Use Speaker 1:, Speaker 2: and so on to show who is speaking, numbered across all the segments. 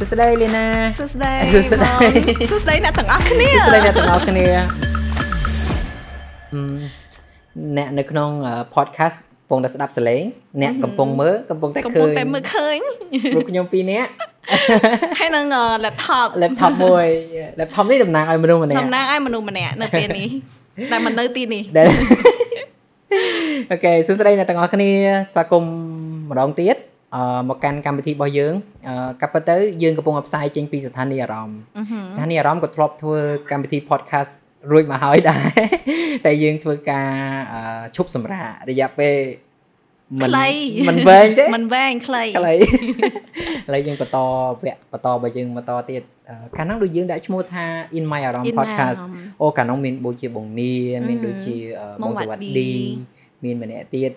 Speaker 1: សួស្តីលីណា
Speaker 2: សួស្តី
Speaker 1: សួស្តី
Speaker 2: បងសួស្តីអ្នកទាំងអស់គ្នា
Speaker 1: សួស្តីអ្នកទាំងអស់ គ្នាហឹមអ្នកនៅក្នុងអឺ podcast កំពុងតែស្ដាប់សលេងអ្នកកំពុងមើលកំពុងតែ
Speaker 2: កំ
Speaker 1: ឃើ
Speaker 2: ពុង
Speaker 1: ញ
Speaker 2: តែមើលឃើញ
Speaker 1: ពួកខ្ញុំពីរនាក់
Speaker 2: ហើយនឹងអឺ laptop
Speaker 1: laptop មួយ laptop នេះតំណាងឲ្យមនុស្សម្នាក់
Speaker 2: តំណាងឲ្យមនុស្សម្នាក់នៅពេលនេះតែមិននៅទីនេះ
Speaker 1: ដែល អូខេសួស្តីអ្នកទាំងអស់គ្នាស្វាគមន៍ម្ដងទៀតអឺមកកាន់កម្មវិធីរបស់យើងអឺកាប់ពិតទៅយើងកំពុងឲ្យផ្សាយចេញពីស្ថានីយ៍អារម្មណ៍
Speaker 2: ឧហឹម
Speaker 1: ស្ថានីយ៍អារម្មណ៍ក៏ធ្លាប់ធ្វើកម្មវិធី podcast រួចមកហើយដែរ តែយើងធ្វើការអឺឈប់សម្រាករយៈពេលមិន
Speaker 2: ខ្លី
Speaker 1: មិនវែងទេ
Speaker 2: មិនវែងខ្លី
Speaker 1: ខ្លី ឥឡូវយើងបន្តវគ្គបន្តរបស់យើងបន្តទៀតអឺកាលនោះដូចយើងដាក់ឈ្មោះថា In My Aram
Speaker 2: In my
Speaker 1: Podcast
Speaker 2: room
Speaker 1: អូកាលនោះមានដូចជាបងនីមានដូចជាអឺ
Speaker 2: បង
Speaker 1: បងសវ
Speaker 2: វ៉ា
Speaker 1: ត្ត
Speaker 2: ត់ឌី
Speaker 1: ឌីមានម្នាក់ទៀត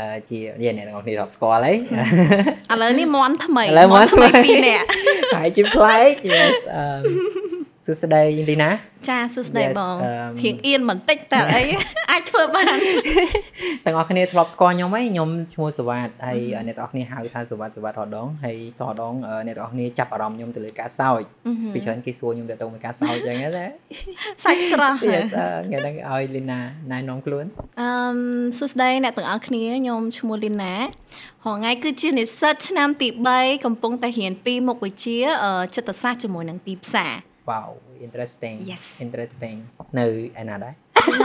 Speaker 1: អឺជាយាអ្នកទាំងអស់គ្នាធ្លាប់ស្គាល់ហើយ
Speaker 2: ឥឡូវនេះមន់ថ្មី
Speaker 1: ឥឡូវមាន់ថ្មី
Speaker 2: ពីរនាក់
Speaker 1: ហើយជាប្លែក yes អឺសួស្តីលីណា
Speaker 2: ចាសួស្តី
Speaker 1: Yes,
Speaker 2: បង
Speaker 1: អឺ
Speaker 2: ភៀងអៀនបន្តិច តែអី អាចធ្វើបាន
Speaker 1: ទាំងអស់គ្នាធ្លាប់ស្គាល់ខ្ញុំហើយខ្ញុំឈ្មោះសវត្តហើយអ្នកទាំងអស់គ្នាហៅថាសវត្តសវត្តរដងហើយតរដងអឺអ្នកទាំងអស់គ្នាចាប់អារម្មណ៍ខ្ញុំទៅលើការសើច
Speaker 2: ឧហឹម
Speaker 1: ពីច្រើនគេសួរខ្ញុំទៅទៅមួយការសើចអញ្ចឹង ណា
Speaker 2: សាច់ស្រស់
Speaker 1: Yes អឺថ្ងៃហ្នឹងឲ្យលីណាណែនាំខ្លួន
Speaker 2: អឺមសួស្តីអ្នកទាំងអស់គ្នាខ្ញុំឈ្មោះលីណាហងៃគឺជានិស្សិតឆ្នាំទី3កំពុងតែរៀនពីមុខវិជ្ជាអឺចិត្តសាស្ត្រជាមួយនឹងទីផ្សារ
Speaker 1: Wow interesting
Speaker 2: Yes.
Speaker 1: interesting នៅឯណាដែរ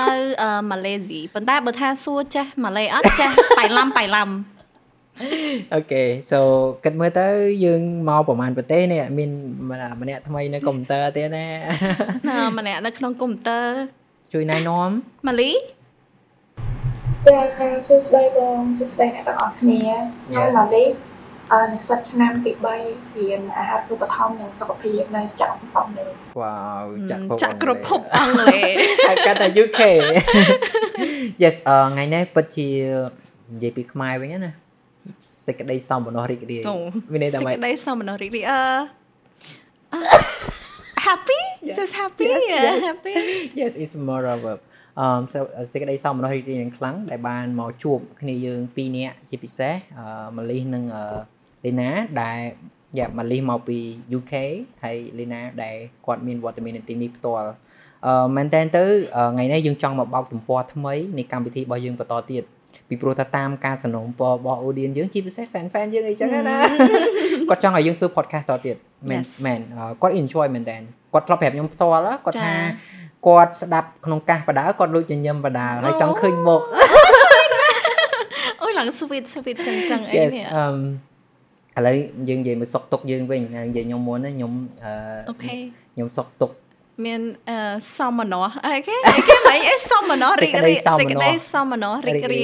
Speaker 2: នៅអឺម៉ាឡេស៊ីប៉ុន្តែបើថាសួរចាស់ម៉ាឡេអត់ចាស់ បៃឡាំបៃឡាំ
Speaker 1: អូខេ so គិតមើលទៅយើងមកប្រហែលប្រទេសនេះមានម្នាក់ថ្មីនៅកុំព្យូទ័រទៀតណា
Speaker 2: ណាម្នាក់នៅក្នុងកុំព្យូទ័រ
Speaker 1: ជួយណែនាំ
Speaker 2: ម៉ាលី
Speaker 3: ចា៎សួស្តីបងសួស្តីអ្នកទាំងអស់គ្នាខ្ញុំម៉ាលីអឺនិស្សិតឆ្នាំទី3រៀនអាហាររូបត្ថម្ភនិងសុខភាពនៅចក្រភពនេះ
Speaker 1: wow
Speaker 2: ចាក់គ្រប់ភពអង់គ្លេស
Speaker 1: ហើយកាត់តែ UK Yes អឺថ្ងៃនេះពិតជានិយាយពីខ្មែរវិញណាសេចក្តីសំបំណោះរីករាយ
Speaker 2: អូ
Speaker 1: មានន័យ
Speaker 2: សេ
Speaker 1: ថា
Speaker 2: ច
Speaker 1: ម៉េច
Speaker 2: ក្តីសមមនុស្សរីករា យអឺ happy
Speaker 1: Yes.
Speaker 2: just happy
Speaker 1: Yes, yes.
Speaker 2: happy
Speaker 1: Yes it's more of a um so សេចក្តីសោមនស្សរីករាយយ៉ាងខ្លាំងដែលបានមកជួបគ្នាយើងពីរនាក់ជាពិសេសអឺម៉ាលីសនិងអឺលីណាដែលយ៉ាម៉ាលីសមកពី UK ហើយលីណាដែលគាត់មានវត្តមាននៅទីនេះផ្ទាល់អឺមែនតើទៅអឺថ្ងៃនេះយើងចង់មកបោកទំព័រថ្មីនៃកម្មវិធីរបស់យើងបន្តទៀតពីព្រោះថាតាមការសនំពររបស់ audience យើងជាពិសេស fan fan យើងអីចឹងណា គាត់ចង់ឲ្យយើងធ្វើ podcast តទៀតមែន
Speaker 2: Yes.
Speaker 1: មែនអឺគាត់ enjoy មែនតើគាត់ធ្លាប់ប្រាប់ខ្ញុំផ្ទាល់ហ៎គាត់
Speaker 2: ចា
Speaker 1: ថា គាត់ស្ដាប់ក្នុងកាសបដាលគាត់លួចញញឹមបដាលហើយ
Speaker 2: អូ
Speaker 1: ចង់ឃើញមុខ
Speaker 2: អូយឡើង sweet sweet ចឹងចឹងអី
Speaker 1: Yes
Speaker 2: នេះ
Speaker 1: អឺឥឡូវយើងនិយាយមកសុកទុកយើងវិញហើយនិយាយខ្ញុំមុនណាខ្ញុំអ
Speaker 2: អូខេ
Speaker 1: ខ្ញុំសុកទុក
Speaker 2: មានអឺសមណោះអីគេអីគេហីអីសមណោះរីករាយ
Speaker 1: សេច
Speaker 2: សេច
Speaker 1: ក្តីសមណោះ
Speaker 2: ក្តីសមណោះរីករាយ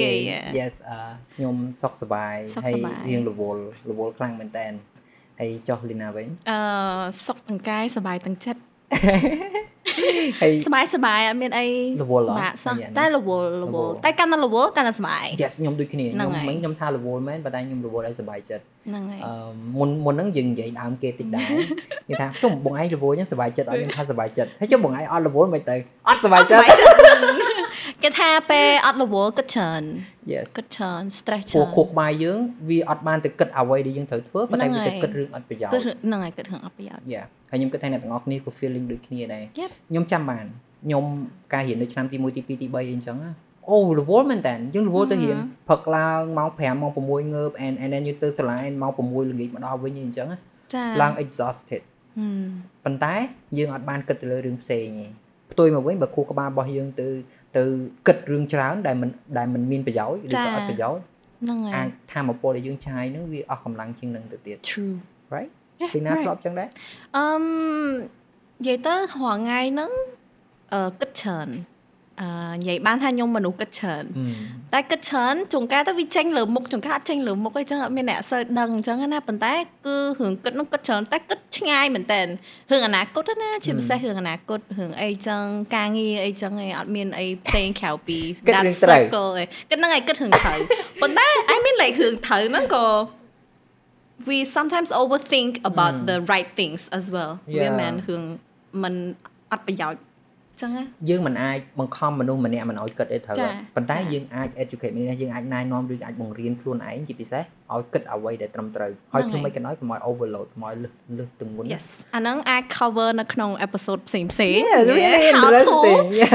Speaker 1: Yes អឺខ្ញុំសុខសប្បាយ
Speaker 2: សុខ
Speaker 1: ហើយ
Speaker 2: សប្បាយ
Speaker 1: រៀងរវល់រវល់ខ្លាំងមែនតើហើយចុះលីណា វិញ
Speaker 2: អឺសុខទាំងកាយសบายទាំងចិត្ត
Speaker 1: ហើយ
Speaker 2: សบายសบายអត់មានអី
Speaker 1: រវល់ហ៎
Speaker 2: បាក់សោះ
Speaker 1: អីយ៉ាង
Speaker 2: តែរវល់រវ
Speaker 1: រវល់
Speaker 2: ល់តែកាន់តែរវល់កាន់តែសบาย
Speaker 1: Yes ខ្ញុំដូចគ្នា
Speaker 2: ហ្នឹង
Speaker 1: ខ្ញុំ
Speaker 2: ហើយ
Speaker 1: មិញខ្ញុំថារវល់មែនប៉ុន្តែខ្ញុំរវល់ឲ្យសប្បាយចិត្ត
Speaker 2: ហ្នឹងហើយ
Speaker 1: អឺមុនមុនហ្នឹងយើងនិយាយដើមគេតិចដែរ គេថាខ្ញុំបងឯងរវល់ចឹងសុបាយចិត្តអត់ខ្ញុំថាសុបាយចិត្តហើយចុះបងឯងអត់រវល់មិនទៅអត់សុបាយ
Speaker 2: ស
Speaker 1: ចិត្ត
Speaker 2: บายចិត្ត គេថាពេលអត់រវល់គិតច្រើន
Speaker 1: Yes
Speaker 2: គិតច្រើន stress
Speaker 1: ពួក
Speaker 2: ច្រើន
Speaker 1: ខួរក្បាលយើងវាអត់បានទៅគិតអ្វីដែលយើងត្រូវធ្វើប៉ុន្តែវាទៅគិតរឿងអត់ប្រយោជ
Speaker 2: គិត
Speaker 1: ន៍
Speaker 2: ហ្នឹងហើយគិតរឿងអត់ប្រយោជន៍
Speaker 1: Yeah ហើយខ្ញុំគិតថាអ្នកទាំងអស់គ្នាក៏ feeling ដូចគ្នាដែរ
Speaker 2: Yep
Speaker 1: ខ្ញុំចាំបានខ្ញុំការរៀននៅឆ្នាំទី1ទី2ទី3អីចឹងណាអូរវល់មែនតើយើងរវល់ទៅរៀន
Speaker 2: Mhm.
Speaker 1: ផឹកឡើងម៉ោង5ម៉ោង6ងើប and and then យើងទៅសាលាម៉ោង6ល្ងាចមកដល់វិញអីចឹងណា
Speaker 2: ចា
Speaker 1: ឡើង exhausted
Speaker 2: ហឹម
Speaker 1: ប៉ុន្តែយើងអត់បានគិតទៅលើរឿងផ្សេងទេផ្ទុយមកវិញបើខួរក្បាលរបស់យើងទៅទៅគិតរឿងច្រើនដែលមិនដែលមិនមានប្រយោជន៍ឬក៏អត់ប្រយោជន៍
Speaker 2: ហ្នឹងហើ
Speaker 1: អាច
Speaker 2: យ
Speaker 1: ថាមពលដែលយើងឆាយហ្នឹងវាអស់កម្លាំងជាងនឹងទៅទៀត
Speaker 2: true
Speaker 1: Right?
Speaker 2: Yeah,
Speaker 1: ពីណា
Speaker 2: right.
Speaker 1: ធ្លាប់ចឹងដែរ
Speaker 2: អឺមនិយាយទៅរាល់ថ្ងៃហ្នឹងអឺគិតច្រើនអឺនិយាយបានថាខ្ញុំមនុស្សគិតច្រើនតែគិតច្រើនចុងការទៅវាចេញលើមុខចុងការអត់ចេញលើមុខអីចឹងអត់មានអ្នកសើចដឹងអញ្ចឹងណាប៉ុន្តែគឺរឿងគិតហ្នឹងគិតច្រើនតែគិតឆ្ងាយមែនតើរឿងអនាគតហ្នឹងណាជាពិសេសរឿងអនាគតរឿងអីចឹងការងារអីចឹងឯងអត់មានអីផ្សេងក្រៅពី
Speaker 1: គិត
Speaker 2: that
Speaker 1: រឿងត្រូវ
Speaker 2: circle ឯងគិតហ្នឹងឯងគិតរឿងត្រូវ ប៉ុន្តែ I mean like រឿងត្រូវហ្នឹងក៏ we sometimes overthink about
Speaker 1: ម
Speaker 2: the right things as well
Speaker 1: Yeah.
Speaker 2: វាមិនរឿងមិនអត់ប្រយោជន៍ ចឹងណា
Speaker 1: យើងមិនអាចបង្ខំមនុស្សម្នាក់មិនឲ្យគិតអីត្រូវ
Speaker 2: ចា
Speaker 1: ទេប៉ុន្តែ
Speaker 2: ចា
Speaker 1: យើងអាច educate មនុស្សយើងអាចណែនាំឬអាចបង្រៀនខ្លួនឯងជាពិសេសឲ្យគិតអ្វីដែលត្រឹមត្រូវហើយខ្ញុំមិនក៏ដោយកុំឲ្យ overload កុំឲ្យលឹះលឹះទម្ងន់
Speaker 2: yes អាហ្នឹងអាច cover នៅក្នុង episode ផ្សេងផ្សេង
Speaker 1: Yeah, it's really
Speaker 2: Yeah, how to
Speaker 1: interesting. Yeah.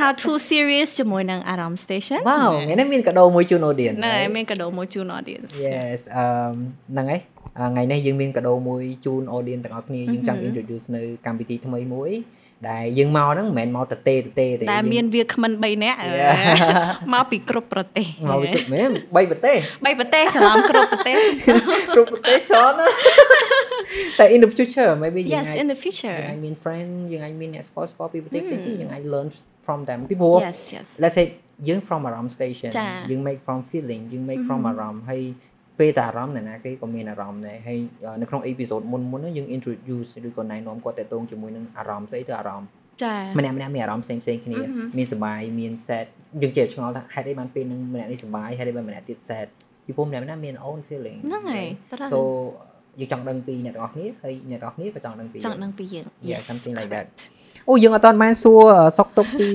Speaker 2: how to series ជាមួយនឹង Aram Station
Speaker 1: Wow ថ្ងៃនេះមានកាដូមួយជូន audience
Speaker 2: ណែ
Speaker 1: right?
Speaker 2: មានកាដូមួយជូន audience
Speaker 1: Yes អឺហ្នឹងហើយអ่าថ្ងៃនេះយើងមានកាដូមួយជូន audience ទាំងអស់គ្នាយើងចង់
Speaker 2: Mhm.
Speaker 1: introduce នៅកម្មវិធីថ្មីមួយ ដែលយើងមកហ្នឹងមិនមែនមកតេតេទេទេ
Speaker 2: ដែលមានវាគ្មិន3នាក់
Speaker 1: Yeah.
Speaker 2: មកពីគ្រប់ប្រទេស
Speaker 1: មកពីទឹកមែនបីប្រ ទេស
Speaker 2: បីប្រទេសច្រឡំគ្រប់ប្រ ទេស
Speaker 1: គ្រប់ប្រទេសច្រើន ណាស់តែ in the future maybe យើង
Speaker 2: Yes
Speaker 1: អាច
Speaker 2: in the future
Speaker 1: យើងអាចមាន friend យើងអាចមានអ្នក sport sport ពីប្រទេសផ្សេងទៀតយើងអាច learn from them ពីព្រោះ
Speaker 2: Yes yes
Speaker 1: let's say យើង from aram station
Speaker 2: ចា
Speaker 1: យើង make from feeling យើង make from
Speaker 2: មហឹម
Speaker 1: aram ហើយពេលតែអារម្មណ៍អ្នកណាគេក៏មានអារម្មណ៍ដែរហើយអឺនៅក្នុង episode មុនមុនហ្នឹងយើង introduce ឬក៏ណែនាំគាត់តទៅជាមួយនឹងអារម្មណ៍ស្អីទៅអារម្មណ៍
Speaker 2: ចា
Speaker 1: ម្នាក់ម្នាក់មានអារម្មណ៍ផ្សេងផ្សេងគ្នា
Speaker 2: មហឹម
Speaker 1: មានសុបាយមាន sad យើងចេះឆ្ងល់ថាហេតុអីបានពេលហ្នឹងម្នាក់នេះសុបាយហេតុអីបានម្នាក់ទៀត sad ពីព្រោះម្នាក់ម្នាក់មាន own feeling
Speaker 2: ហ្នឹងហើយត្រូវ
Speaker 1: so យើងចង់ដឹងពីអ្នកទាំងអស់គ្នាហើយអ្នកទាំងអស់គ្នាក៏ចង់ដឹងពី
Speaker 2: ចង់ដឹងពីយើង
Speaker 1: Yeah, something like that អូយើងអត់តានបានសួរអឺសុកទុកពី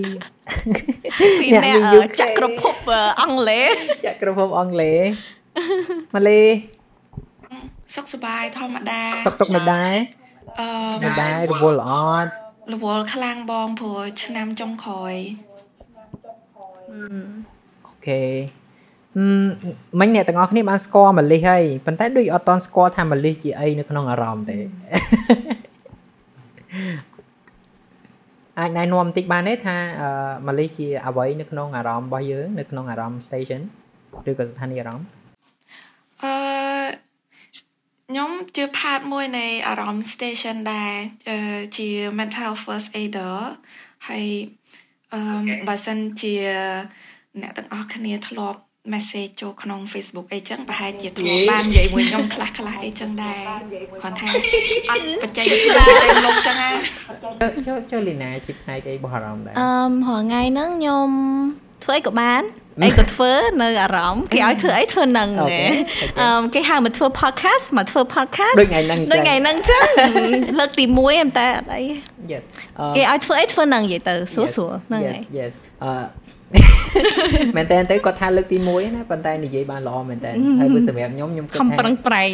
Speaker 2: ពី
Speaker 1: អ្នក
Speaker 2: អ្ន
Speaker 1: ពី
Speaker 2: កអឺ
Speaker 1: UK
Speaker 2: ចក្រភពអឺអង់គ្លេស
Speaker 1: ចក្រភពអង់ គ្លេស ម៉ាឡេ
Speaker 3: សុខសប្បាយធម្មតា
Speaker 1: សុកទុកមិនដែរ
Speaker 3: អឺ
Speaker 1: មិនដែររវល់អត់
Speaker 3: រវល់ខ្លាំងបងព្រោះឆ្នាំចុងក្រោយ
Speaker 1: អូខេអឺមិញអ្នកទាំងអស់គ្នាបានស្គាល់ម៉ាឡេហើយប៉ុន្តែដូចអត់តានស្គាល់ថាម៉ាឡេជាអីនៅក្នុងអារម្មណ៍ទេ អាចណែនាំបន្តិចបានទេថាអឺម៉ាឡេជាអ្វីនៅក្នុងអារម្មណ៍របស់យើងនៅក្នុងអារម្មណ៍ station ឬក៏ស្ថានីយ៍អារម្មណ៍
Speaker 3: អឺខ្ញុំជា part មួយនៃអារម្មណ៍ station ដែរអឺជា mental first aider ហើយអឺបើសិនជាអ្នកទាំងអស់គ្នាធ្លាប់ message ចូលក្នុង Facebook អីចឹងប្រហែលជាធ្លាប់បាននិយាយមួយខ្ញុំខ្លះខ្លះៗអីចឹងដែរគាត់ថាអត់បច្ចេកវិទ្យាបច្ចេកលុកចឹងណា
Speaker 1: ចូលចូលចូលលីណាជាផ្នែកអីរបស់អារម្មណ៍ដែរ
Speaker 2: អឺមរាល់ថ្ងៃហ្នឹងខ្ញុំធ្វើអីក៏ បានអីក៏ធ្វើនៅអារម្មណ៍គេឲ្យធ្វើអីធ្វើហ្នឹង
Speaker 1: អូខេ
Speaker 2: ហ៎
Speaker 1: okay.
Speaker 2: អឺមគេហៅមកធ្វើ podcast មកធ្វើ podcast
Speaker 1: ដូចថ្ងៃហ្នឹង
Speaker 2: ដូចថ្ងៃហ្នឹងចឹ ង លើកទី1តែអត់អី
Speaker 1: yes
Speaker 2: គេឲ្យធ្វើអីធ្វើហ្នឹងនិយាយទៅស្រួលស្រួល
Speaker 1: ហ្នឹ
Speaker 2: ហ្នឹង ង
Speaker 1: ហើ
Speaker 2: ហើយ យ
Speaker 1: yes អឺ មែនតើទៅគាត់ថាលើកទី1ណាប៉ុន្តែនិយាយបានល្អមែនតើហើយបើសម្រាប់ខ្ញុំខ្ញុំគិត
Speaker 2: ខំ
Speaker 1: ថា
Speaker 2: ប្រឹងប្រែង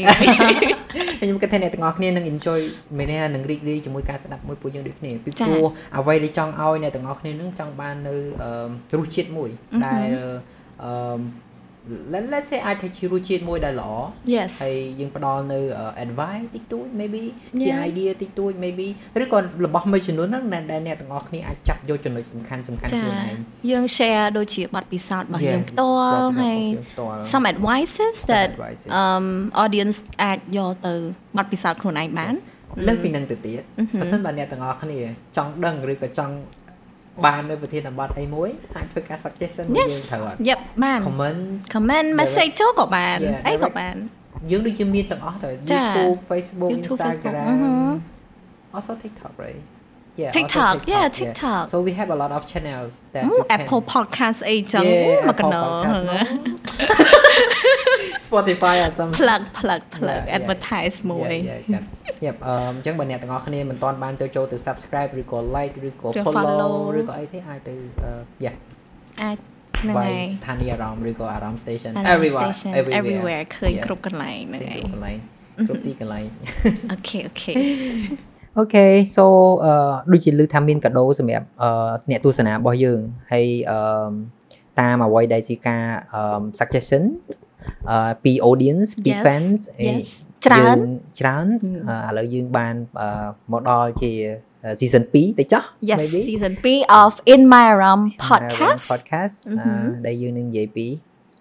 Speaker 1: ខ្ញុំគិតថាអ្នកទាំងអស់គ្នានឹង enjoy មែនទេនឹងរីករាយជាមួយការស្ដាប់មួយពួកយើងដូចគ្នាពី
Speaker 2: ចា៎
Speaker 1: ព្រោះអ្វីដែលចង់ឲ្យអ្នកទាំងអស់គ្នានឹងចង់បាននៅអឺរសជាតិមួយដែលអឺ let's say អាចថាជារសជាតិមួយដែលល្អ
Speaker 2: yes
Speaker 1: ហើយយើងផ្ដល់នៅអឺ advice តិចតួច maybe ជា
Speaker 2: Yeah.
Speaker 1: idea តិចតួច maybe ឬក៏របស់មួយចំនួនហ្នឹងដែលដែលអ្នកទាំងអស់គ្នាអាចចាប់យកចំណុចសំខាន់សំខាន់
Speaker 2: ចា
Speaker 1: ខ្លួនឯង
Speaker 2: យើង share ដូចជាបទពិសោធន៍របស់
Speaker 1: Yeah,
Speaker 2: យើងផ្ទាល់
Speaker 1: បទពិសោធន៍ផ្ទា
Speaker 2: ហើយ
Speaker 1: ល់
Speaker 2: some advices that
Speaker 1: advices.
Speaker 2: um audience អាចយកទៅបទពិសោធន៍ខ្លួនឯងបាន
Speaker 1: លើសពីនឹងទៅទៀតបើសិនបើអ្នកទាំងអស់គ្នាចង់ដឹងឬក៏ចង់បាននៅប្រធានបទអីមួយអាចធ្វើការ suggestion មួយយើ
Speaker 2: Yes.
Speaker 1: ងត្រូវអត់
Speaker 2: Yep បាន
Speaker 1: comment
Speaker 2: comment message ចូលក៏បាន
Speaker 1: Yeah,
Speaker 2: អីក៏
Speaker 1: direct.
Speaker 2: បាន
Speaker 1: យើងដូចជាមានទាំងអស់ទៅ
Speaker 2: ចា
Speaker 1: YouTube Facebook
Speaker 2: YouTube, Facebook,
Speaker 1: Instagram
Speaker 2: អឺហឺ
Speaker 1: also TikTok right Yeah also
Speaker 2: TikTok, yeah, TikTok.
Speaker 1: So we have a lot of channels that
Speaker 2: អូ
Speaker 1: you can-
Speaker 2: Apple Podcast អីចឹង
Speaker 1: Yeah,
Speaker 2: មក
Speaker 1: Apple
Speaker 2: កណោ
Speaker 1: Podcast ហ្នឹង Spotify or something
Speaker 2: ផ្លឹកផ្លឹកផ្លឹក
Speaker 1: Yeah, yeah.
Speaker 2: advertise មួយ
Speaker 1: យ៉ាប់អឺអញ្ចឹងបើអ្នកទាំងអស់គ្នាមិនទាន់បានចូលចូលទៅ subscribe ឬក៏ like ឬក៏
Speaker 2: ចូល
Speaker 1: follow
Speaker 2: follow
Speaker 1: ឬក៏អីទេអាចទៅយ៉ា
Speaker 2: អាចហ្នឹង
Speaker 1: បាយ
Speaker 2: ហើយ
Speaker 1: ស្ថានីយ៍អារម្មណ៍ឬក៏អារម្មណ៍ station
Speaker 2: Alarm
Speaker 1: everywhere
Speaker 2: station, everywhere ឃើញគ្រប់កន្លែងហ្នឹង
Speaker 1: ហើ
Speaker 2: ហើយយ
Speaker 1: គ្រប់កន្លែងគ្រប់ទីកន្លែង
Speaker 2: អូខេអូខេ
Speaker 1: អូខេ so អឺដូចជាលើថាមានកាដូសម្រាប់អឺអ្នកទស្សនារបស់យើងហើយអឺតាមអ្វីដែលជាការអឺ suggestion អឺពី audience ពី
Speaker 2: Yes,
Speaker 1: fans អី
Speaker 2: yes ច្រើន
Speaker 1: យើងច្រើនអឺឥឡូវយើងបានអឺមកដល់ជា season 2ទៅចោះ
Speaker 2: Yes
Speaker 1: maybe
Speaker 2: season 2 of In My Ram podcast
Speaker 1: Iron podcast
Speaker 2: អឺហឹ
Speaker 1: អឺ
Speaker 2: ម
Speaker 1: ដែលយើងនឹងនិយាយពី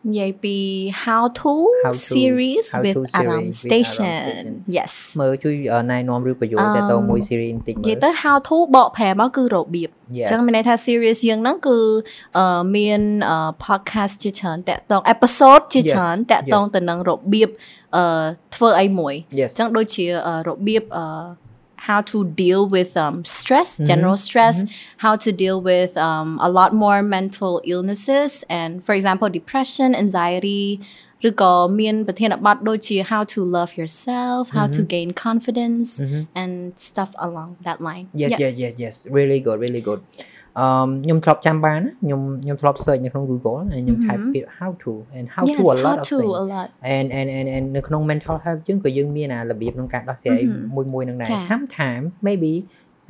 Speaker 2: និយាយពី how to
Speaker 1: How to-
Speaker 2: series
Speaker 1: how to
Speaker 2: with
Speaker 1: series
Speaker 2: Aram
Speaker 1: with Aram
Speaker 2: station
Speaker 1: Station.
Speaker 2: yes
Speaker 1: មើលជួយអឺណែនាំឬបញ្យល់ទៅទៅមួយ
Speaker 2: Um,
Speaker 1: series បន្តិចមើ
Speaker 2: និយាយ
Speaker 1: ល
Speaker 2: ទៅ how to បកប្រែមកគឺរបៀប
Speaker 1: Yes.
Speaker 2: ចឹងមានន័យថា series យើងហ្នឹងគឺអឺមានអឺ podcast ជាច្រើនតាក់តង episode ជា
Speaker 1: Yes,
Speaker 2: ច្រើនតាក់តង
Speaker 1: yes.
Speaker 2: ទៅនឹងរបៀបអឺធ្វើអីមួយ
Speaker 1: Yes.
Speaker 2: ចឹងដូចជាអឺរបៀបអឺ how to deal with um stress general stress how to deal with um a lot more mental illnesses and for example depression anxiety ឬក៏មានប្រធានបទដូចជា how to love yourself how to gain confidence and stuff along that line
Speaker 1: yes yes yes yes really good really good អឺខ្ញុំធ្លាប់ចាំបានណាខ្ញុំខ្ញុំធ្លាប់ search នៅក្នុង Google ហើយខ្ញុំ
Speaker 2: Mhm.
Speaker 1: type ពាក្យ how to and how
Speaker 2: Yes,
Speaker 1: to a lot
Speaker 2: how
Speaker 1: of
Speaker 2: to
Speaker 1: things
Speaker 2: a lot
Speaker 1: and and and and នៅក្នុង mental health យើងក៏យើងមានអារបៀបក្នុងការដោះស្រាយ
Speaker 2: មហឹម
Speaker 1: មួយមួយៗហ្នឹងដែរ
Speaker 2: ចា
Speaker 1: sometimes maybe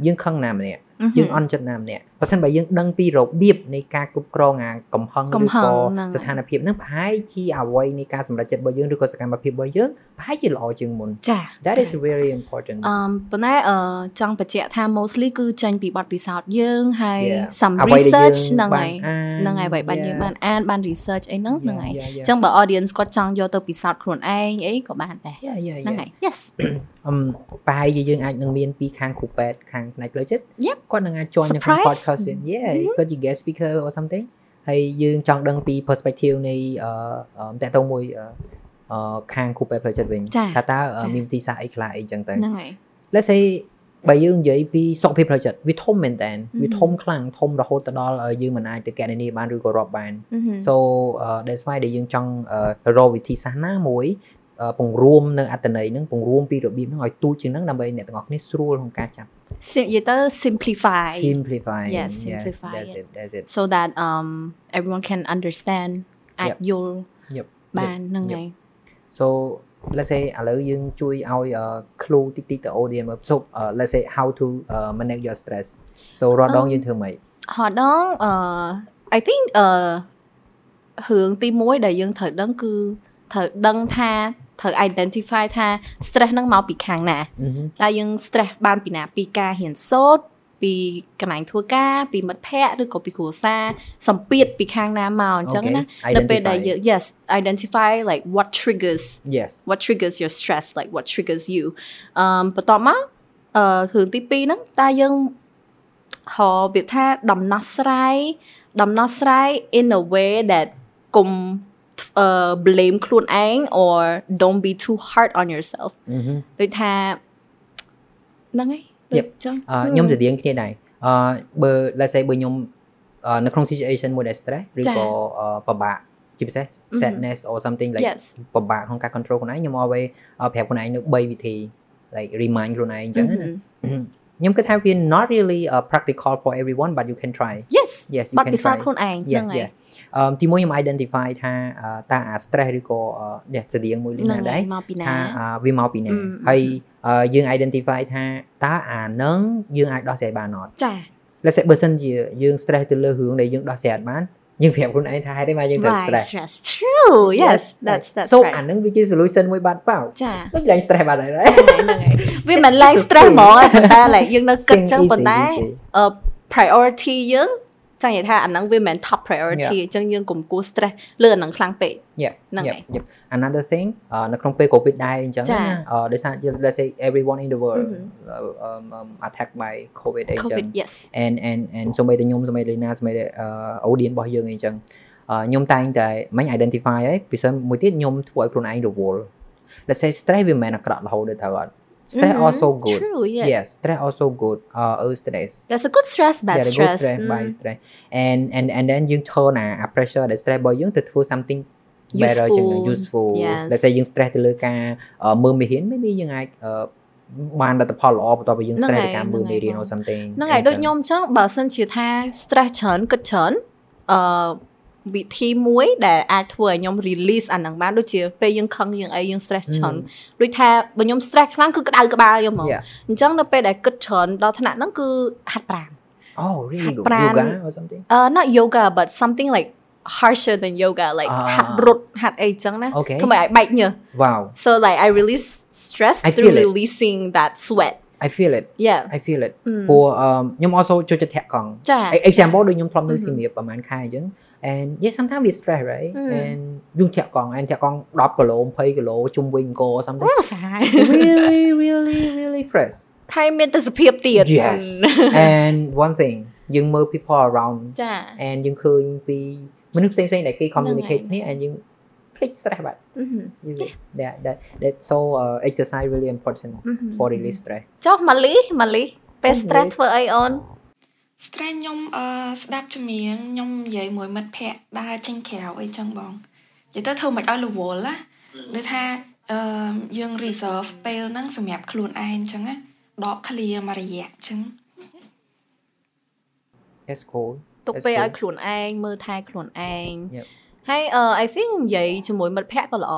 Speaker 1: យើងខឹងណាម្នាក់
Speaker 2: មហឹម
Speaker 1: យើងអន់ចិត្តណាម្នាក់បើសិនបើយើងដឹងពីរបៀបនៃការគ្រប់គ្រងអាកំហឹង
Speaker 2: កំ
Speaker 1: ឬ
Speaker 2: ហឹ
Speaker 1: ក៏
Speaker 2: ងហ្នឹងហើយ
Speaker 1: ស្ថានភាពហ្នឹងប្រហែលជាអវ័យនៃការសម្រេចចិត្តរបស់យើងឬក៏សកម្មភាពរបស់យើងប្រហែលជាល្អជាងមុន
Speaker 2: ចា
Speaker 1: that is very important
Speaker 2: អឺប៉ុន្តែអឺចង់បញ្ជាក់ថា mostly គឺចេញពីបទពិសោធន៍យើងហើយ
Speaker 1: Yeah.
Speaker 2: some
Speaker 1: អ្វីដែល
Speaker 2: research
Speaker 1: យើង
Speaker 2: ហ្នឹង
Speaker 1: បា
Speaker 2: ហើយ
Speaker 1: អា
Speaker 2: ហ្នឹងហើយបើបានយើង
Speaker 1: Yeah.
Speaker 2: បានអានបាន research អីហ្នឹងហ្នឹងហើយ
Speaker 1: Yeah, yeah, yeah.
Speaker 2: អញ្ចឹងបើ audience គាត់ចង់យកទៅពិសោធន៍ខ្លួនឯងអីក៏បានដែរ
Speaker 1: Yeah, yeah,
Speaker 2: ហ្នឹង
Speaker 1: yeah.
Speaker 2: ហើយ yes
Speaker 1: អឹមប្រហែលជាយើងអាចនឹងមានពីខាងគ្រូពេទ្យខាងផ្នែកផ្លូវចិត្ត
Speaker 2: Yep.
Speaker 1: គាត់នឹងអាច join នៅក្នុង
Speaker 2: Surprise.
Speaker 1: podcast ទៀត Yeah គាត់ជា guest speaker or something ហើយយើងចង់ដឹងពី perspective នៃអឺតកតងមួយអឺអឺខាងគ្រូពេទ្យផ្លូវចិត្តវិញ
Speaker 2: ចា
Speaker 1: ថាតើ
Speaker 2: ចា
Speaker 1: អឺមានវិធីសាស្ត្រអីខ្លះអីចឹងទៅ
Speaker 2: ហ្នឹងហើយ
Speaker 1: Let's say បើយើងនិយាយពីសុខភាពផ្លូវចិត្តវាធំមែនតើវា
Speaker 2: Mhm.
Speaker 1: ធំខ្លាំងធំរហូតទៅដល់អឺយើងមិនអាចទៅកណនាបានឬក៏រាប់បាន
Speaker 2: មហឹម
Speaker 1: so uh, that's why ដែលយើងចង់អឺរកវិធីសាស្ត្រណាមួយអឺពង្រួមនៅអត្តន័យហ្នឹងពង្រួមពីរបៀបហ្នឹងឲ្យទូលជាងហ្នឹងដើម្បីអ្នកទាំងអស់គ្នាស្រួលក្នុងការចាប់
Speaker 2: Sim- និយាយទៅ simplify
Speaker 1: simplify
Speaker 2: Yes, simplify
Speaker 1: that's it that's it
Speaker 2: so that um everyone can understand អាច
Speaker 1: Yep.
Speaker 2: យល់
Speaker 1: Yep.
Speaker 2: បានហ្នឹងហើយ
Speaker 1: so let's say ឥឡូវយើងជួយឲ្យអឺ clue តិចតិចទៅ audience មក so uh, let's say how to uh, manage your stress so រត់ដង
Speaker 2: Um,
Speaker 1: យើងធ្វើម៉េច
Speaker 2: ហត់ដងអឺ I think អឺរឿងទី1ដែលយើងត្រូវដឹងគឺត្រូវដឹងថាត្រូវ identify ថា stress ហ្នឹងមកពីខាងណាតើយើង stress បានពីណាពីការហ៊ានសូត្រពីកន្លែងធ្វើការពីមិត្តភ័ក្តិឬក៏ពីគ្រួសារសម្ពាធពីខាងណាមកអញ្ចឹងណានៅពេលដែលយើង yes identify like what triggers
Speaker 1: yes
Speaker 2: what triggers your stress like what triggers you អឺមបន្ទាប់មកអឺរឿងទី2ហ្នឹងតើយើងហៅវាថាដំណោះស្រាយដំណោះស្រាយ in a way that កុំអឺ blame ខ្លួនឯង or don't be too hard on yourself
Speaker 1: អឺហឹម
Speaker 2: ដូចថាហ្នឹងឯងដូច
Speaker 1: Yep.
Speaker 2: ចឹង
Speaker 1: អឺខ្ញុំស្រដៀងគ្នាដែរអឺបើ let's say បើខ្ញុំអឺនៅក្នុង situation មួយដែល stress ឬ
Speaker 2: ចា៎
Speaker 1: ក៏អឺពិបាកជាពិសេស
Speaker 2: Mhm.
Speaker 1: sadness or something like
Speaker 2: yes
Speaker 1: ពិបាកក្នុងការ control ខ្លួនឯងខ្ញុំ always អឺប្រាប់ខ្លួនឯងនៅ3វិធី like remind ខ្លួនឯងអញ្ចឹងណា
Speaker 2: ម
Speaker 1: ខ្ញុំគិតថាវា not really uh, practical for everyone but you can try
Speaker 2: yes
Speaker 1: yes you
Speaker 2: បាត់
Speaker 1: can
Speaker 2: ពិសោ
Speaker 1: try
Speaker 2: ធន៍ខ្លួនឯងហ្នឹង
Speaker 1: Yeah,
Speaker 2: ឯ
Speaker 1: yeah.
Speaker 2: ង
Speaker 1: អឺទីមួយខ្ញុំ identify ថាអឺតើអា stress ឬក៏អឺនេះស្រដៀងមួយលេខ
Speaker 2: ហ្នឹង
Speaker 1: ណា
Speaker 2: ឯ
Speaker 1: ដែរ
Speaker 2: ងមកពីណា
Speaker 1: ថាអ่าវាមកពីណា
Speaker 2: អឺ
Speaker 1: ហើយអឺយើង identify ថាតើអានឹងយើងអាចដោះស្រាយបានអត់
Speaker 2: ចា
Speaker 1: let's say បើសិនជាយើង stress ទៅលើរឿងដែលយើងដោះស្រាយអត់បានយើងប្រាប់ខ្លួនឯងថាហេតុអីបានយើងត្រូវ
Speaker 2: why
Speaker 1: stress
Speaker 2: stress true yes that's that's
Speaker 1: so
Speaker 2: right
Speaker 1: អានឹងវាជា solution មួយបាត់ប៉ោ
Speaker 2: ចា
Speaker 1: ដូចឡើង stress បាត់ហើយណា
Speaker 2: ហ្នឹងហើយវាមិនឡើង stress ហ្មងហើយប៉ុន្តែ like យើងនៅគិត
Speaker 1: Think
Speaker 2: ចឹង
Speaker 1: easy,
Speaker 2: ប៉ុន្តែ
Speaker 1: easy.
Speaker 2: អឺ priority យើងចង់និយាយថាអាហ្នឹងវាមិនមែន top priority អញ្ចឹងយើងកុំគួរ stress លើអាហ្នឹងខ្លាំងពេក
Speaker 1: Yeah,
Speaker 2: ហ្នឹង
Speaker 1: yeah,
Speaker 2: ហើយ
Speaker 1: yeah. another thing អឺនៅក្នុងពេល covid ដែរអញ្ចឹង
Speaker 2: ចា
Speaker 1: ណាអឺដោយសារ let's say everyone in the world
Speaker 2: អឺហឹម
Speaker 1: uh, um, um, attacked by covid អីអញ្ចឹង
Speaker 2: covid yes
Speaker 1: and and and សូម្បីតែខ្ញុំសូម្បីតែលីណាសូម្បីតែអឺ audience របស់យើងអីចឹងអឺខ្ញុំតែងតែមិញ identify ហើយពិសេសមួយទៀតខ្ញុំធ្វើឲ្យខ្លួនឯងរវល់ let's say stress វាមិនមែនអាក្រក់រហូតទេត្រូវអត់ stress
Speaker 2: អឺហឹម
Speaker 1: also good
Speaker 2: true yes
Speaker 1: yes stress also good អឺអឺ stress
Speaker 2: that's a good stress bad
Speaker 1: Yeah, the good
Speaker 2: stress
Speaker 1: stress
Speaker 2: អឺ
Speaker 1: by stress and and and then យើង turn អាអា pressure ដែល stress របស់យើងទៅធ្វើ something better
Speaker 2: Useful.
Speaker 1: ជាងនឹង useful
Speaker 2: Yes.
Speaker 1: let's say យើង stress ទៅលើការអឺមើលមេរៀន maybe យើងអាចអឺបានលទ្ធផលល្អបន្ទាប់ពីយើង
Speaker 2: ហ្នឹង
Speaker 1: stress
Speaker 2: ហើយ
Speaker 1: ពីការ
Speaker 2: ហ្នឹង
Speaker 1: មើល
Speaker 2: ហើយ
Speaker 1: មេរៀន
Speaker 2: បង
Speaker 1: or something
Speaker 2: ហ្នឹងហើយ
Speaker 1: អី
Speaker 2: ដូច
Speaker 1: ចឹង
Speaker 2: ខ្ញុំអញ្ចឹងបើសិនជាថា stress ច្រើនគិតច្រើនអឺវិធីមួយដែលអាចធ្វើឲ្យខ្ញុំ release អាហ្នឹងបានដូចជាពេលយើងខឹងយើងអីយើង stress ច្រើនដូចថាបើខ្ញុំ stress ខ្លាំងគឺក្តៅក្បាលខ្ញុំហ្មង
Speaker 1: Yeah.
Speaker 2: អញ្ចឹងនៅពេលដែលគិតច្រើនដល់ថ្នាក់ហ្នឹងគឺហាត់ប្រាណ
Speaker 1: Oh, really
Speaker 2: Had
Speaker 1: good.
Speaker 2: pran.
Speaker 1: Yoga or something?
Speaker 2: អឺ not yoga but something like harsher than yoga like
Speaker 1: អ่า
Speaker 2: ហាត់រត់ហាត់អីចឹងណា
Speaker 1: Okay.
Speaker 2: ធ្វើឲ្យបែកញើស
Speaker 1: Wow.
Speaker 2: so like i release stress
Speaker 1: I
Speaker 2: through
Speaker 1: feel it.
Speaker 2: releasing that sweat
Speaker 1: I feel it.
Speaker 2: yeah
Speaker 1: I feel it. ờ,
Speaker 2: ម
Speaker 1: ព្រោះអឺខ្ញុំ also ចូលចិត្តធាក់កង់
Speaker 2: ចា
Speaker 1: E, example ដូចខ្ញុំធ្លាប់នៅ
Speaker 2: Mhm.
Speaker 1: សៀមរាបប្រហែលខែអញ្ចឹង and yeah sometimes we stress right
Speaker 2: Mm.
Speaker 1: and យើងធាក់កង់ and ធាក់កង់10គីឡូ20គីឡូជុំវិញអង្គរ something
Speaker 2: អូសាហាយ
Speaker 1: really really really fresh
Speaker 2: ហើយមានទស្សនភាពទៀត
Speaker 1: Yes. and one thing យើងមើល people around
Speaker 2: ចា
Speaker 1: and យើងឃើញពីមនុស្សផ្សេងៗដែលគេ communicate
Speaker 2: ហ្នឹង
Speaker 1: គ្នា
Speaker 2: ហើយ
Speaker 1: and យើងភ្លេច stress បាត់
Speaker 2: អឺហឹម
Speaker 1: You see, that that that so uh, exercise really important
Speaker 2: អឺហឹម
Speaker 1: for release stress
Speaker 2: ចុះម៉ាលីម៉ាលីពេល
Speaker 1: ម៉ាលី
Speaker 2: stress ធ្វើអីអូន
Speaker 3: stress ខ្ញុំអឺស្ដាប់ជំនាញខ្ញុំនិយាយមួយមិត្តភ័ក្ដិដើរចេញក្រៅអីចឹងបង និយាយទៅធ្វើមិនឲ្យរវល់ណាដូចថាអឺយើង reserve ពេលហ្នឹងសម្រាប់ខ្លួនឯងអញ្ចឹងណាដក clear មួយរយៈអញ្ចឹង
Speaker 1: That's cool
Speaker 2: ទុក
Speaker 1: That's
Speaker 2: ពេលឲ្យ
Speaker 1: cool.
Speaker 2: ខ្លួនឯងមើលថែខ្លួនឯង
Speaker 1: Yep.
Speaker 2: ហើយអឺ I think និយាយជាមួយមិត្តភ័ក្តិក៏ល្អ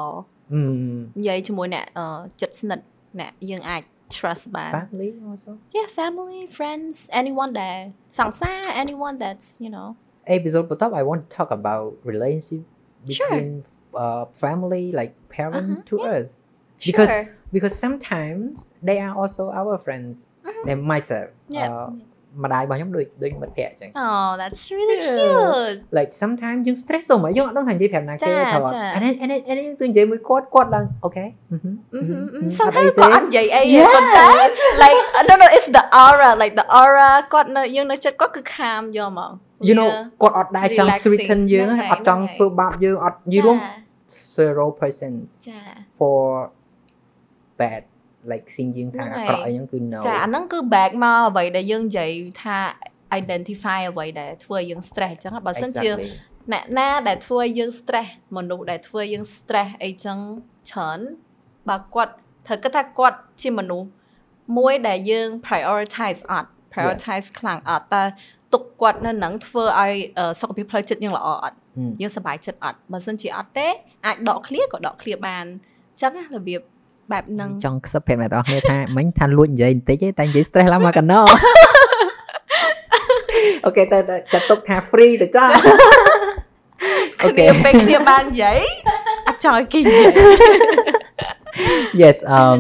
Speaker 1: Mm.
Speaker 2: និយាយជាមួយអ្នកអឺចិត្តស្និទ្ធអ្នកយើងអាច trust បាន
Speaker 1: Family also.
Speaker 2: Yeah family friends anyone there សង្សារ anyone that's you know
Speaker 1: Episode but I want to talk about relationship
Speaker 2: Sure.
Speaker 1: between uh, family like parents
Speaker 2: Uh-huh,
Speaker 1: to us Because-
Speaker 2: sure
Speaker 1: because sometimes they are also our friends.
Speaker 2: Mhm.
Speaker 1: They myself.
Speaker 2: Yeah.
Speaker 1: Uh, ម្ដាយរបស់ខ្ញុំដូចដូចមិត្តភក្តិអញ្ចឹង
Speaker 2: Oh that's really
Speaker 1: Yeah.
Speaker 2: cute
Speaker 1: like sometimes យើង stress សូម្បីយើងអត់ដឹងថានិយាយប្រាប់ណាគេថ
Speaker 2: ចាចា
Speaker 1: ត and then and then and then ទៅនិយាយមួយគាត់គាត់ឡើង okay ừ
Speaker 2: Ừ សង្ឃឹមក៏អត់និយាយអីទេ
Speaker 1: Yes.
Speaker 2: ប៉ុន្តែ like I don't know it's the aura like the aura គាត់នៅយើងនៅចិត្តគាត់គឺខាមយកមក
Speaker 1: you know
Speaker 2: វា
Speaker 1: គាត់អត់ដែរចង់
Speaker 2: relaxing
Speaker 1: sweeten យើង
Speaker 2: ហ្នឹងហើយ
Speaker 1: អត់ចង់
Speaker 2: ហ្នឹងហើយ
Speaker 1: ធ្វើបាបយើងអត់និយាយរួម
Speaker 2: ចា
Speaker 1: 0%
Speaker 2: ចា
Speaker 1: for bad like seeing យើងថា
Speaker 2: ហ្នឹង
Speaker 1: អា
Speaker 2: ហើយ
Speaker 1: ក្រក់អីហ្នឹងគឺ no
Speaker 2: ចាអាហ្នឹងគឺ back មកអ្វីដែលយើងនិយាយថា identify អ្វីដែលធ្វើឲ្យយើង stress អញ្ចឹងបើសិនជា
Speaker 1: Exactly.
Speaker 2: អ្នកណាដែលធ្វើឲ្យយើង stress មនុស្សដែលធ្វើឲ្យយើង stress អីចឹងច្រើនបើគាត់ត្រូវគិតថាគាត់ជាមនុស្សមួយដែលយើង prioritize អត់ prioritize ខ្លាំងអត់តែទុកគាត់នៅនឹងធ្វើឲ្យអឺសុខភាពផ្លូវចិត្តយើងល្អអត់
Speaker 1: Mm.
Speaker 2: យើងសប្បាយចិត្តអត់បើមិនជាអត់ទេអាចដកឃ្លៀក៏ដកឃ្លៀបានអញ្ចឹងណារបៀបបែបហ្នឹង
Speaker 1: ចង់ខ្សឹបប្រាប់អ្នកនរគ្នាថាមិញថាលួចនិយាយបន្តិចទេតែនិយាយ stress ឡើងមកកណ្ណោ អូខេតែតែចាត់ទុកថា free ទៅចា អូខេ
Speaker 2: គ្នាពេលគ្នាបាននិយាយអាចចង់ឲ្យគេនិយាយ
Speaker 1: yes
Speaker 2: ហ្នឹ
Speaker 1: um
Speaker 2: ង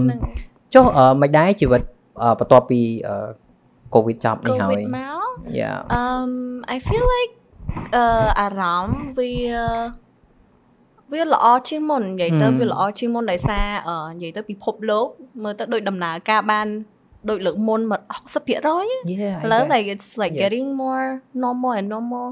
Speaker 1: ចុះអឺមិនដែរជីវិតអឺបន្ទាប់ពីអឺ covid ចប់
Speaker 2: កូ
Speaker 1: នេះហើ
Speaker 2: វី
Speaker 1: យ
Speaker 2: ដមក
Speaker 1: yeah
Speaker 2: um i feel like uh, អឺអារម្មណ៍វា uh, វាល្អជាងមុននិយាយទៅ
Speaker 1: ហ៊ឹម
Speaker 2: វាល្អជាងមុនដោយសារអឺនិយាយទៅពិភពលោកមើលទៅដូចដំណើរការបានដូចលើកមុនមក60%ឥ
Speaker 1: yeah I
Speaker 2: ឡូវ
Speaker 1: guess.
Speaker 2: like it's like
Speaker 1: Yes.
Speaker 2: getting more normal and normal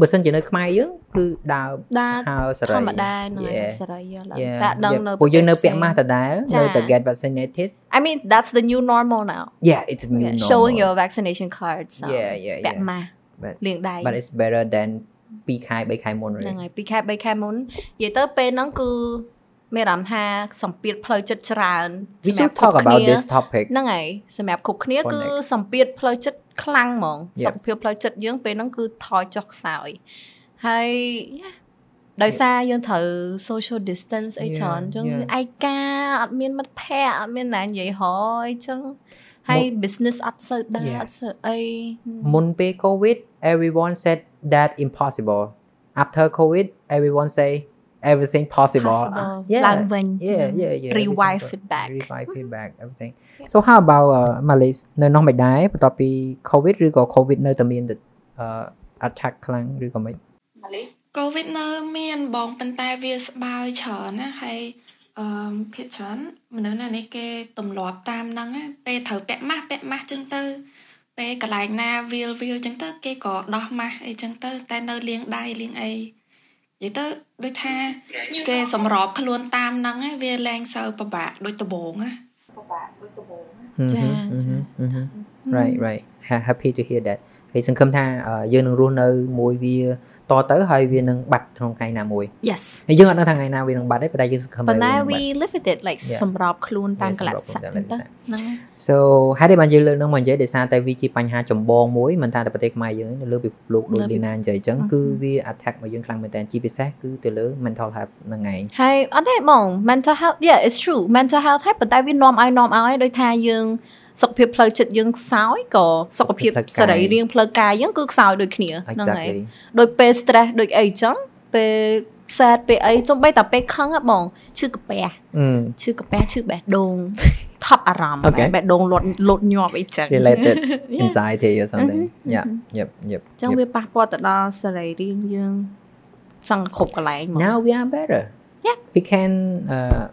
Speaker 1: បើសិនជានៅខ្មែរយើងគឺដើរ
Speaker 2: ដា
Speaker 1: ហើរសេរី
Speaker 2: ធម្មតាហ្នឹងហើយ
Speaker 1: Yeah.
Speaker 2: សេរីយល់ឡើង
Speaker 1: Yeah.
Speaker 2: តែដឹង
Speaker 1: Yeah.
Speaker 2: នៅ
Speaker 1: ពួកយើងនៅ
Speaker 2: ផ្
Speaker 1: ពាក់ម៉ាស់ដដែល
Speaker 2: ចា៎
Speaker 1: នៅតែ get vaccinated
Speaker 2: I mean that's the new normal now
Speaker 1: yeah it's new
Speaker 2: Yeah,
Speaker 1: normal.
Speaker 2: showing your vaccination uh, card so
Speaker 1: yeah yeah
Speaker 2: ពាក់
Speaker 1: yeah
Speaker 2: ម៉ាស់
Speaker 1: But-
Speaker 2: លាងដៃ
Speaker 1: but it's better than 2ខែ3ខែមុន right?
Speaker 2: ហ្នឹងហើយពីខែ3ខែមុននិយាយទៅពេលហ្នឹងគឺមានអារម្មណ៍ថាសម្ពាធផ្លូវចិត្តច្រើន
Speaker 1: we
Speaker 2: សម្រាប់
Speaker 1: should talk
Speaker 2: គ្រប់
Speaker 1: about
Speaker 2: គ្នា
Speaker 1: this topic
Speaker 2: ហ្នឹងហើយសម្រាប់គ្រប់គ្នា
Speaker 1: Connect
Speaker 2: គឺសម្ពាធផ្លូវចិត្តខ្លាំងហ្មង
Speaker 1: Yeah.
Speaker 2: សុខភាពផ្លូវចិត្តយើងពេលហ្នឹងគឺថយចុះខ្សោយហើយ yeah, ដោយសារយើងត្រូវ social distance អី
Speaker 1: Yeah,
Speaker 2: ច្រើនអញ្ចឹង
Speaker 1: yeah.
Speaker 2: ឯកាអត់មានមិត្តភ័ក្តិអត់មានណានិយាយហរអីចឹងហើយ business អត់សូវដើរ
Speaker 1: Yes.
Speaker 2: អត់សូវអី
Speaker 1: មុនពេល covid everyone said that impossible after covid everyone say everything possible
Speaker 2: possible
Speaker 1: yeah
Speaker 2: ឡើងវិញ
Speaker 1: yeah yeah yeah
Speaker 2: rewind
Speaker 1: everything
Speaker 2: feedback Mm.
Speaker 1: revive feedback everything
Speaker 2: Yeah.
Speaker 1: so how about uh, Malaysia នៅនោះមិនដែរបន្ទាប់ពី covid ឬក៏ covid នៅតែមានអឺ attack ខ្លាំងឬក៏មិន
Speaker 3: កូវីដនៅមានបងប៉ុន្តែវាស្បើយច្រើនណាហើយអឺភាគច្រើនមនុស្សណានេះគេទម្លាប់តាមហ្នឹងណាពេលត្រូវពាក់ម៉ាស់ពាក់ម៉ាស់ចឹងទៅ ពេលកន្លែងណាវាលវាលចឹងទៅគេក៏ដោះម៉ាស់អីចឹងទៅតែនៅលាងដៃលាងអីនិយាយទៅដូចថាគេសម្របខ្លួនតាមហ្នឹងណាវាលែងសូវពិបាកដូចដំបូងណា
Speaker 1: Mhm,
Speaker 2: ចា
Speaker 1: mhm,
Speaker 2: ចា
Speaker 1: mhm. right right Ha- happy to hear that ហើយសង្ឃឹមថាអឺយើងនឹងរស់នៅមួយវាតទៅហើយវានឹងបាត់ក្នុងថ្ងៃណាមួយ
Speaker 2: yes
Speaker 1: ហើយយើងអត់ដឹងថាថ្ងៃណាវានឹងបាត់ទេប៉ុន្តែយើងសង្ឃឹមថា
Speaker 2: ប៉ុ
Speaker 1: វានឹង
Speaker 2: ន្តែ
Speaker 1: បាត់
Speaker 2: we live with it like
Speaker 1: Yeah.
Speaker 2: សម្របខ្លួនតាម
Speaker 1: Yeah,
Speaker 2: កលៈ
Speaker 1: សម្រប
Speaker 2: ទេសៈ
Speaker 1: ខ្លួន
Speaker 2: ហ្នឹង
Speaker 1: តាមកលៈ
Speaker 2: ទៅ
Speaker 1: ទេសៈ
Speaker 2: ហ្នឹងហើយ
Speaker 1: so ហើយដែលបានយើងលើកនឹងមកនិយាយដោយសារតែវាជាបញ្ហាចម្បងមួយមិនថាតែប្រទេសខ្មែរយើងទេនៅលើពិភពលោកដូច
Speaker 2: នៅពិភព
Speaker 1: លីណានិយាយអញ្ចឹង
Speaker 2: អឺហឺ
Speaker 1: គឺវា attack មកយើងខ្លាំងមែនតើជាពិសេសគឺទៅលើ mental health ហ្នឹងឯង
Speaker 2: ហើយអត់ទេបង mental health yeah it's true mental health ហើយប៉ុន្តែវានាំឲ្យនាំឲ្យដោយថាយើងសុខភាពផ្លូវចិត្តយើងខ្សោយក៏សុខភាព
Speaker 1: ផ្លូវកាយ
Speaker 2: សរីរាង្គផ្លូវកាយយើងគឺខ្សោយដូចគ្នាហ្នឹងហើយ
Speaker 1: exactly
Speaker 2: ដូចពេល stress ដូចអីចឹងពេល sad ពេលអីទោះបីតែពេលខឹងហ៎បងឈឺកាពះ
Speaker 1: អឺ
Speaker 2: ឈឺកាពះឈឺបេះដូង ថប់អារ ម្មណ៍
Speaker 1: Okay.
Speaker 2: បេះដូងលោតលោតញាប់អីចឹង
Speaker 1: related
Speaker 2: Yeah.
Speaker 1: anxiety or something
Speaker 2: អឺហឺ
Speaker 1: yeah yep yep
Speaker 2: ចឹង
Speaker 1: yep.
Speaker 2: វាប៉ះពាល់ទៅដល់សរីរាង្គយើងសង្គ្រប់កន្លែងហ្មក
Speaker 1: now we are better
Speaker 2: Yeah.
Speaker 1: we can uh,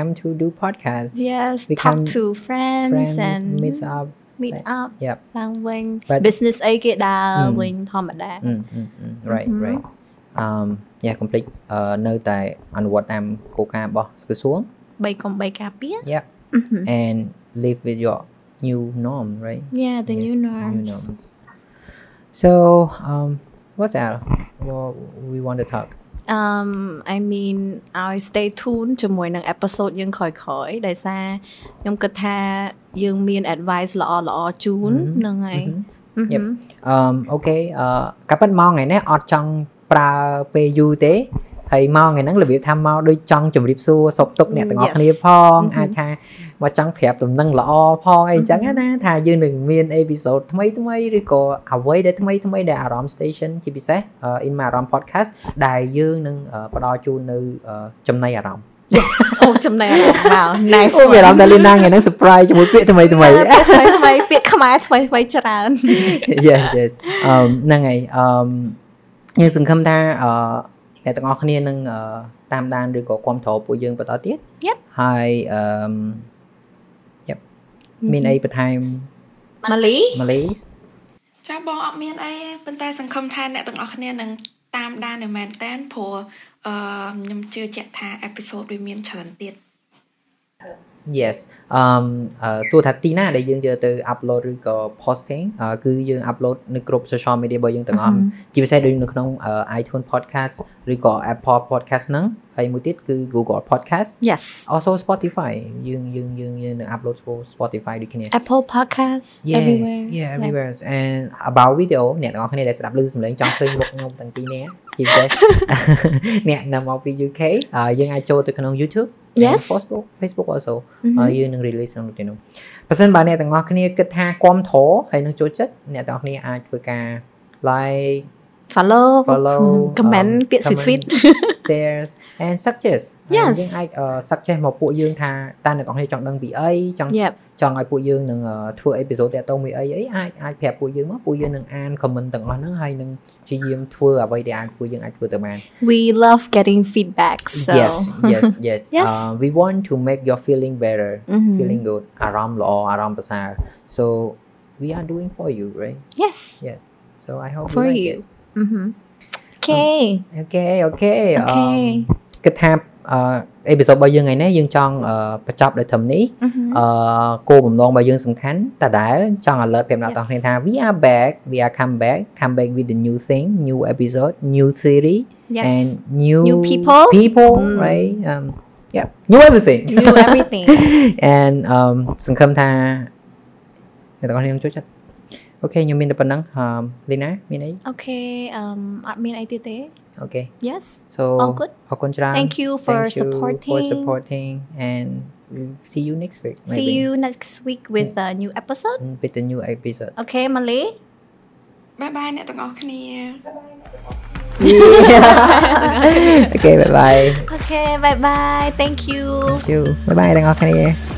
Speaker 1: come to do podcast
Speaker 2: Yes,
Speaker 1: We
Speaker 2: talk
Speaker 1: can-
Speaker 2: to friends,
Speaker 1: friends
Speaker 2: and
Speaker 1: meet up
Speaker 2: meet up.
Speaker 1: Yep.
Speaker 2: ឡើងវិញ
Speaker 1: But-
Speaker 2: business អីគេដើរ
Speaker 1: Mm.
Speaker 2: វិញធម្មតា
Speaker 1: Mm, mm, mm. right
Speaker 2: Mhm.
Speaker 1: right um yeah complete Uh, អឺនៅតែអនុវត្តតាមគោលការណ៍របស់ក្រសួង
Speaker 2: បីកុំបីការពារ
Speaker 1: Yep. and live with your new norm right
Speaker 2: Yeah, the
Speaker 1: Yeah,
Speaker 2: new
Speaker 1: new
Speaker 2: norms.
Speaker 1: norms so um what's that what we want to talk
Speaker 2: um I mean ឲ្យ stay tuned ជាមួយនឹង episode យើងក្រោយៗដោយសារខ្ញុំគិតថាយើងមាន advice ល្អល្អជូនហ្នឹងហើយ
Speaker 1: Mm-hmm. Yep. អឺអូខេអឺកាប៉ិនមកថ្ងៃនេះអត់ចង់ប្រើពេលយូរទេហើយមកថ្ងៃហ្នឹងរបៀបថាមកដូចចង់ជម្រាបសួរសុខទុក្ខអ្នកទាំងអស់
Speaker 2: Yes.
Speaker 1: គ្នាផង
Speaker 2: មហឹម
Speaker 1: អាចថាមកចង់ប្រាប់ដំណឹងល្អផងអីចឹងណាថាយើងនឹងមានអេពីសូតថ្មីថ្មីឬក៏អ្វីដែលថ្មីថ្មីដែលអារម្មណ៍ station ជាពិសេសអឺ in my អារម្មណ៍ podcast ដែលយើងនឹងអឺផ្ដល់ជូននៅអឺចំណៃអារម្មណ៍
Speaker 2: Yes អូចំណែកអារម្មណ៍មក nice
Speaker 1: អូវាអារម្មណ៍តែលីណាថ្ងៃហ្នឹង surprise ជាមួយពាក្យថ្មីថ្មី
Speaker 2: ពាក្យថ្មីថ្មីពាក្យខ្មែរថ្មីថ្មីច្រើន
Speaker 1: yes yes អឺហ្នឹងហើយអឺយើងសង្ឃឹមថាអឺអ្នកទាំងអស់គ្នានឹងអឺតាមដានឬក៏គ្រប់គ្រងពួកយើងបន្តទៀត
Speaker 2: Yep.
Speaker 1: ហើយអឺ Yep មានអីបន្ថែម
Speaker 2: ម៉ាលី
Speaker 1: ម៉ាឡេ
Speaker 3: ចាបងអត់មានអីទេប៉ុន្តែសង្ឃឹមថាអ្នកទាំងអស់គ្នានឹងតាមដាននៅមែនតែនព្រោះអឺខ្ញុំជឿជាក់ថាអេពីសូតវាមានច្រើនទៀត
Speaker 1: yes អឺអឺសួរថាទីណាដែលយើងយកទៅ upload ឬក៏ posting អឺគឺយើង upload នៅគ្រប់ social media របស់យើងទាំង
Speaker 2: Mm,
Speaker 1: អស់ ជាពិសេសដូចនៅក្នុងអឺ iTunes podcast ឬក៏ Apple podcast ហ្នឹងហើយមួយទៀតគឺ Google podcast
Speaker 2: Yes
Speaker 1: also Spotify យើងយើងយើងយើងនឹង upload ចូល Spotify ដូចគ្នា
Speaker 2: Apple podcast
Speaker 1: Yeah,
Speaker 2: everywhere
Speaker 1: yeah everywhere and about video អ្នកទាំងអស់គ្នាដែលស្ដាប់ឮសំឡេងចង់ឃើញមុខខ្ញុំទាំងពីរនាក់ជាពិសេស អ្នកនៅមកពី UK អឺយើងអាចចូលទៅក្នុង YouTube and
Speaker 2: Yes.
Speaker 1: Facebook Facebook also
Speaker 2: ម
Speaker 1: ហើយយើងនឹង release ក្នុងទីនោះប៉ះសិនបើអ្នកទាំងអស់គ្នាគិតថាគាំទ្រហើយនឹងចូលចិត្តអ្នកទាំងអស់គ្នាអាចធ្វើការ like
Speaker 2: follow
Speaker 1: follow
Speaker 2: ម comment
Speaker 1: um,
Speaker 2: ពាក្យ sweet sweet
Speaker 1: comment, shares and suggest ហើយ
Speaker 2: Yes.
Speaker 1: យើងអាច uh, suggest មកពួកយើងថាតើអ្នកទាំងអស់គ្នាចង់ដឹងពីអីចង់
Speaker 2: yep
Speaker 1: ចង់ឲ្យពួកយើងនឹងអឺធ្វើអេពីសូតតាក់ទងមួយអីអីអាចអាចប្រាប់ពួកយើងមកពួកយើងនឹងអាន comment ទាំងអស់ហ្នឹងហើយនឹងព្យាយាមធ្វើអ្វីដែលអាចពួកយើងអាចធ្វើទៅបាន
Speaker 2: we love getting feedback so
Speaker 1: Yes yes yes
Speaker 2: Yes.
Speaker 1: Uh, we want to make your feeling better
Speaker 2: อือหือ
Speaker 1: feeling good អារម្មណ៍ល្អអារម្មណ៍ប្រសើរ so we are doing for you right
Speaker 2: yes
Speaker 1: yes so i hope
Speaker 2: for
Speaker 1: you, like
Speaker 2: you อือหือ okay
Speaker 1: it. okay okay um,
Speaker 2: Okay.
Speaker 1: គិតថាអេពីសូតរបស់យើងថ្ងៃនេះយើងចង់អឺបញ្ចប់ដោយធំនេះ
Speaker 2: อือหือ
Speaker 1: អឺគោលបំណងរបស់យើងសំខាន់តដែលចង់ alert ប្រាប់អ្នក
Speaker 2: Yes.
Speaker 1: ទាំងគ្នាថា we are back we are come back come back with the new thing new episode new series
Speaker 2: yes
Speaker 1: and new
Speaker 2: New people.
Speaker 1: people
Speaker 2: Mm.
Speaker 1: right um yeah new everything
Speaker 2: do everything
Speaker 1: and um សង្ឃឹមថាអ្នកទាំងគ្នានឹងចូលចិត្តអូខេខ្ញុំមានតែប៉ុណ្ណឹងអឺលីណាមានអី
Speaker 2: okay um អត់មានអីទៀតទេ
Speaker 1: អូខេ
Speaker 2: yes
Speaker 1: so
Speaker 2: all good
Speaker 1: អរគុណច្រើន
Speaker 2: thank you for
Speaker 1: um, Thank you
Speaker 2: supporting
Speaker 1: for supporting and we'll see you next week
Speaker 2: see
Speaker 1: maybe.
Speaker 2: you next week with a new episode
Speaker 1: with the new episode
Speaker 2: okay ម៉ាលី
Speaker 3: បាយបាយអ្នកទាំងអស់គ្នា
Speaker 1: Yeah. okay, bye bye.
Speaker 2: Okay, bye bye. Thank you.
Speaker 1: Thank you. Bye bye, đang nghe.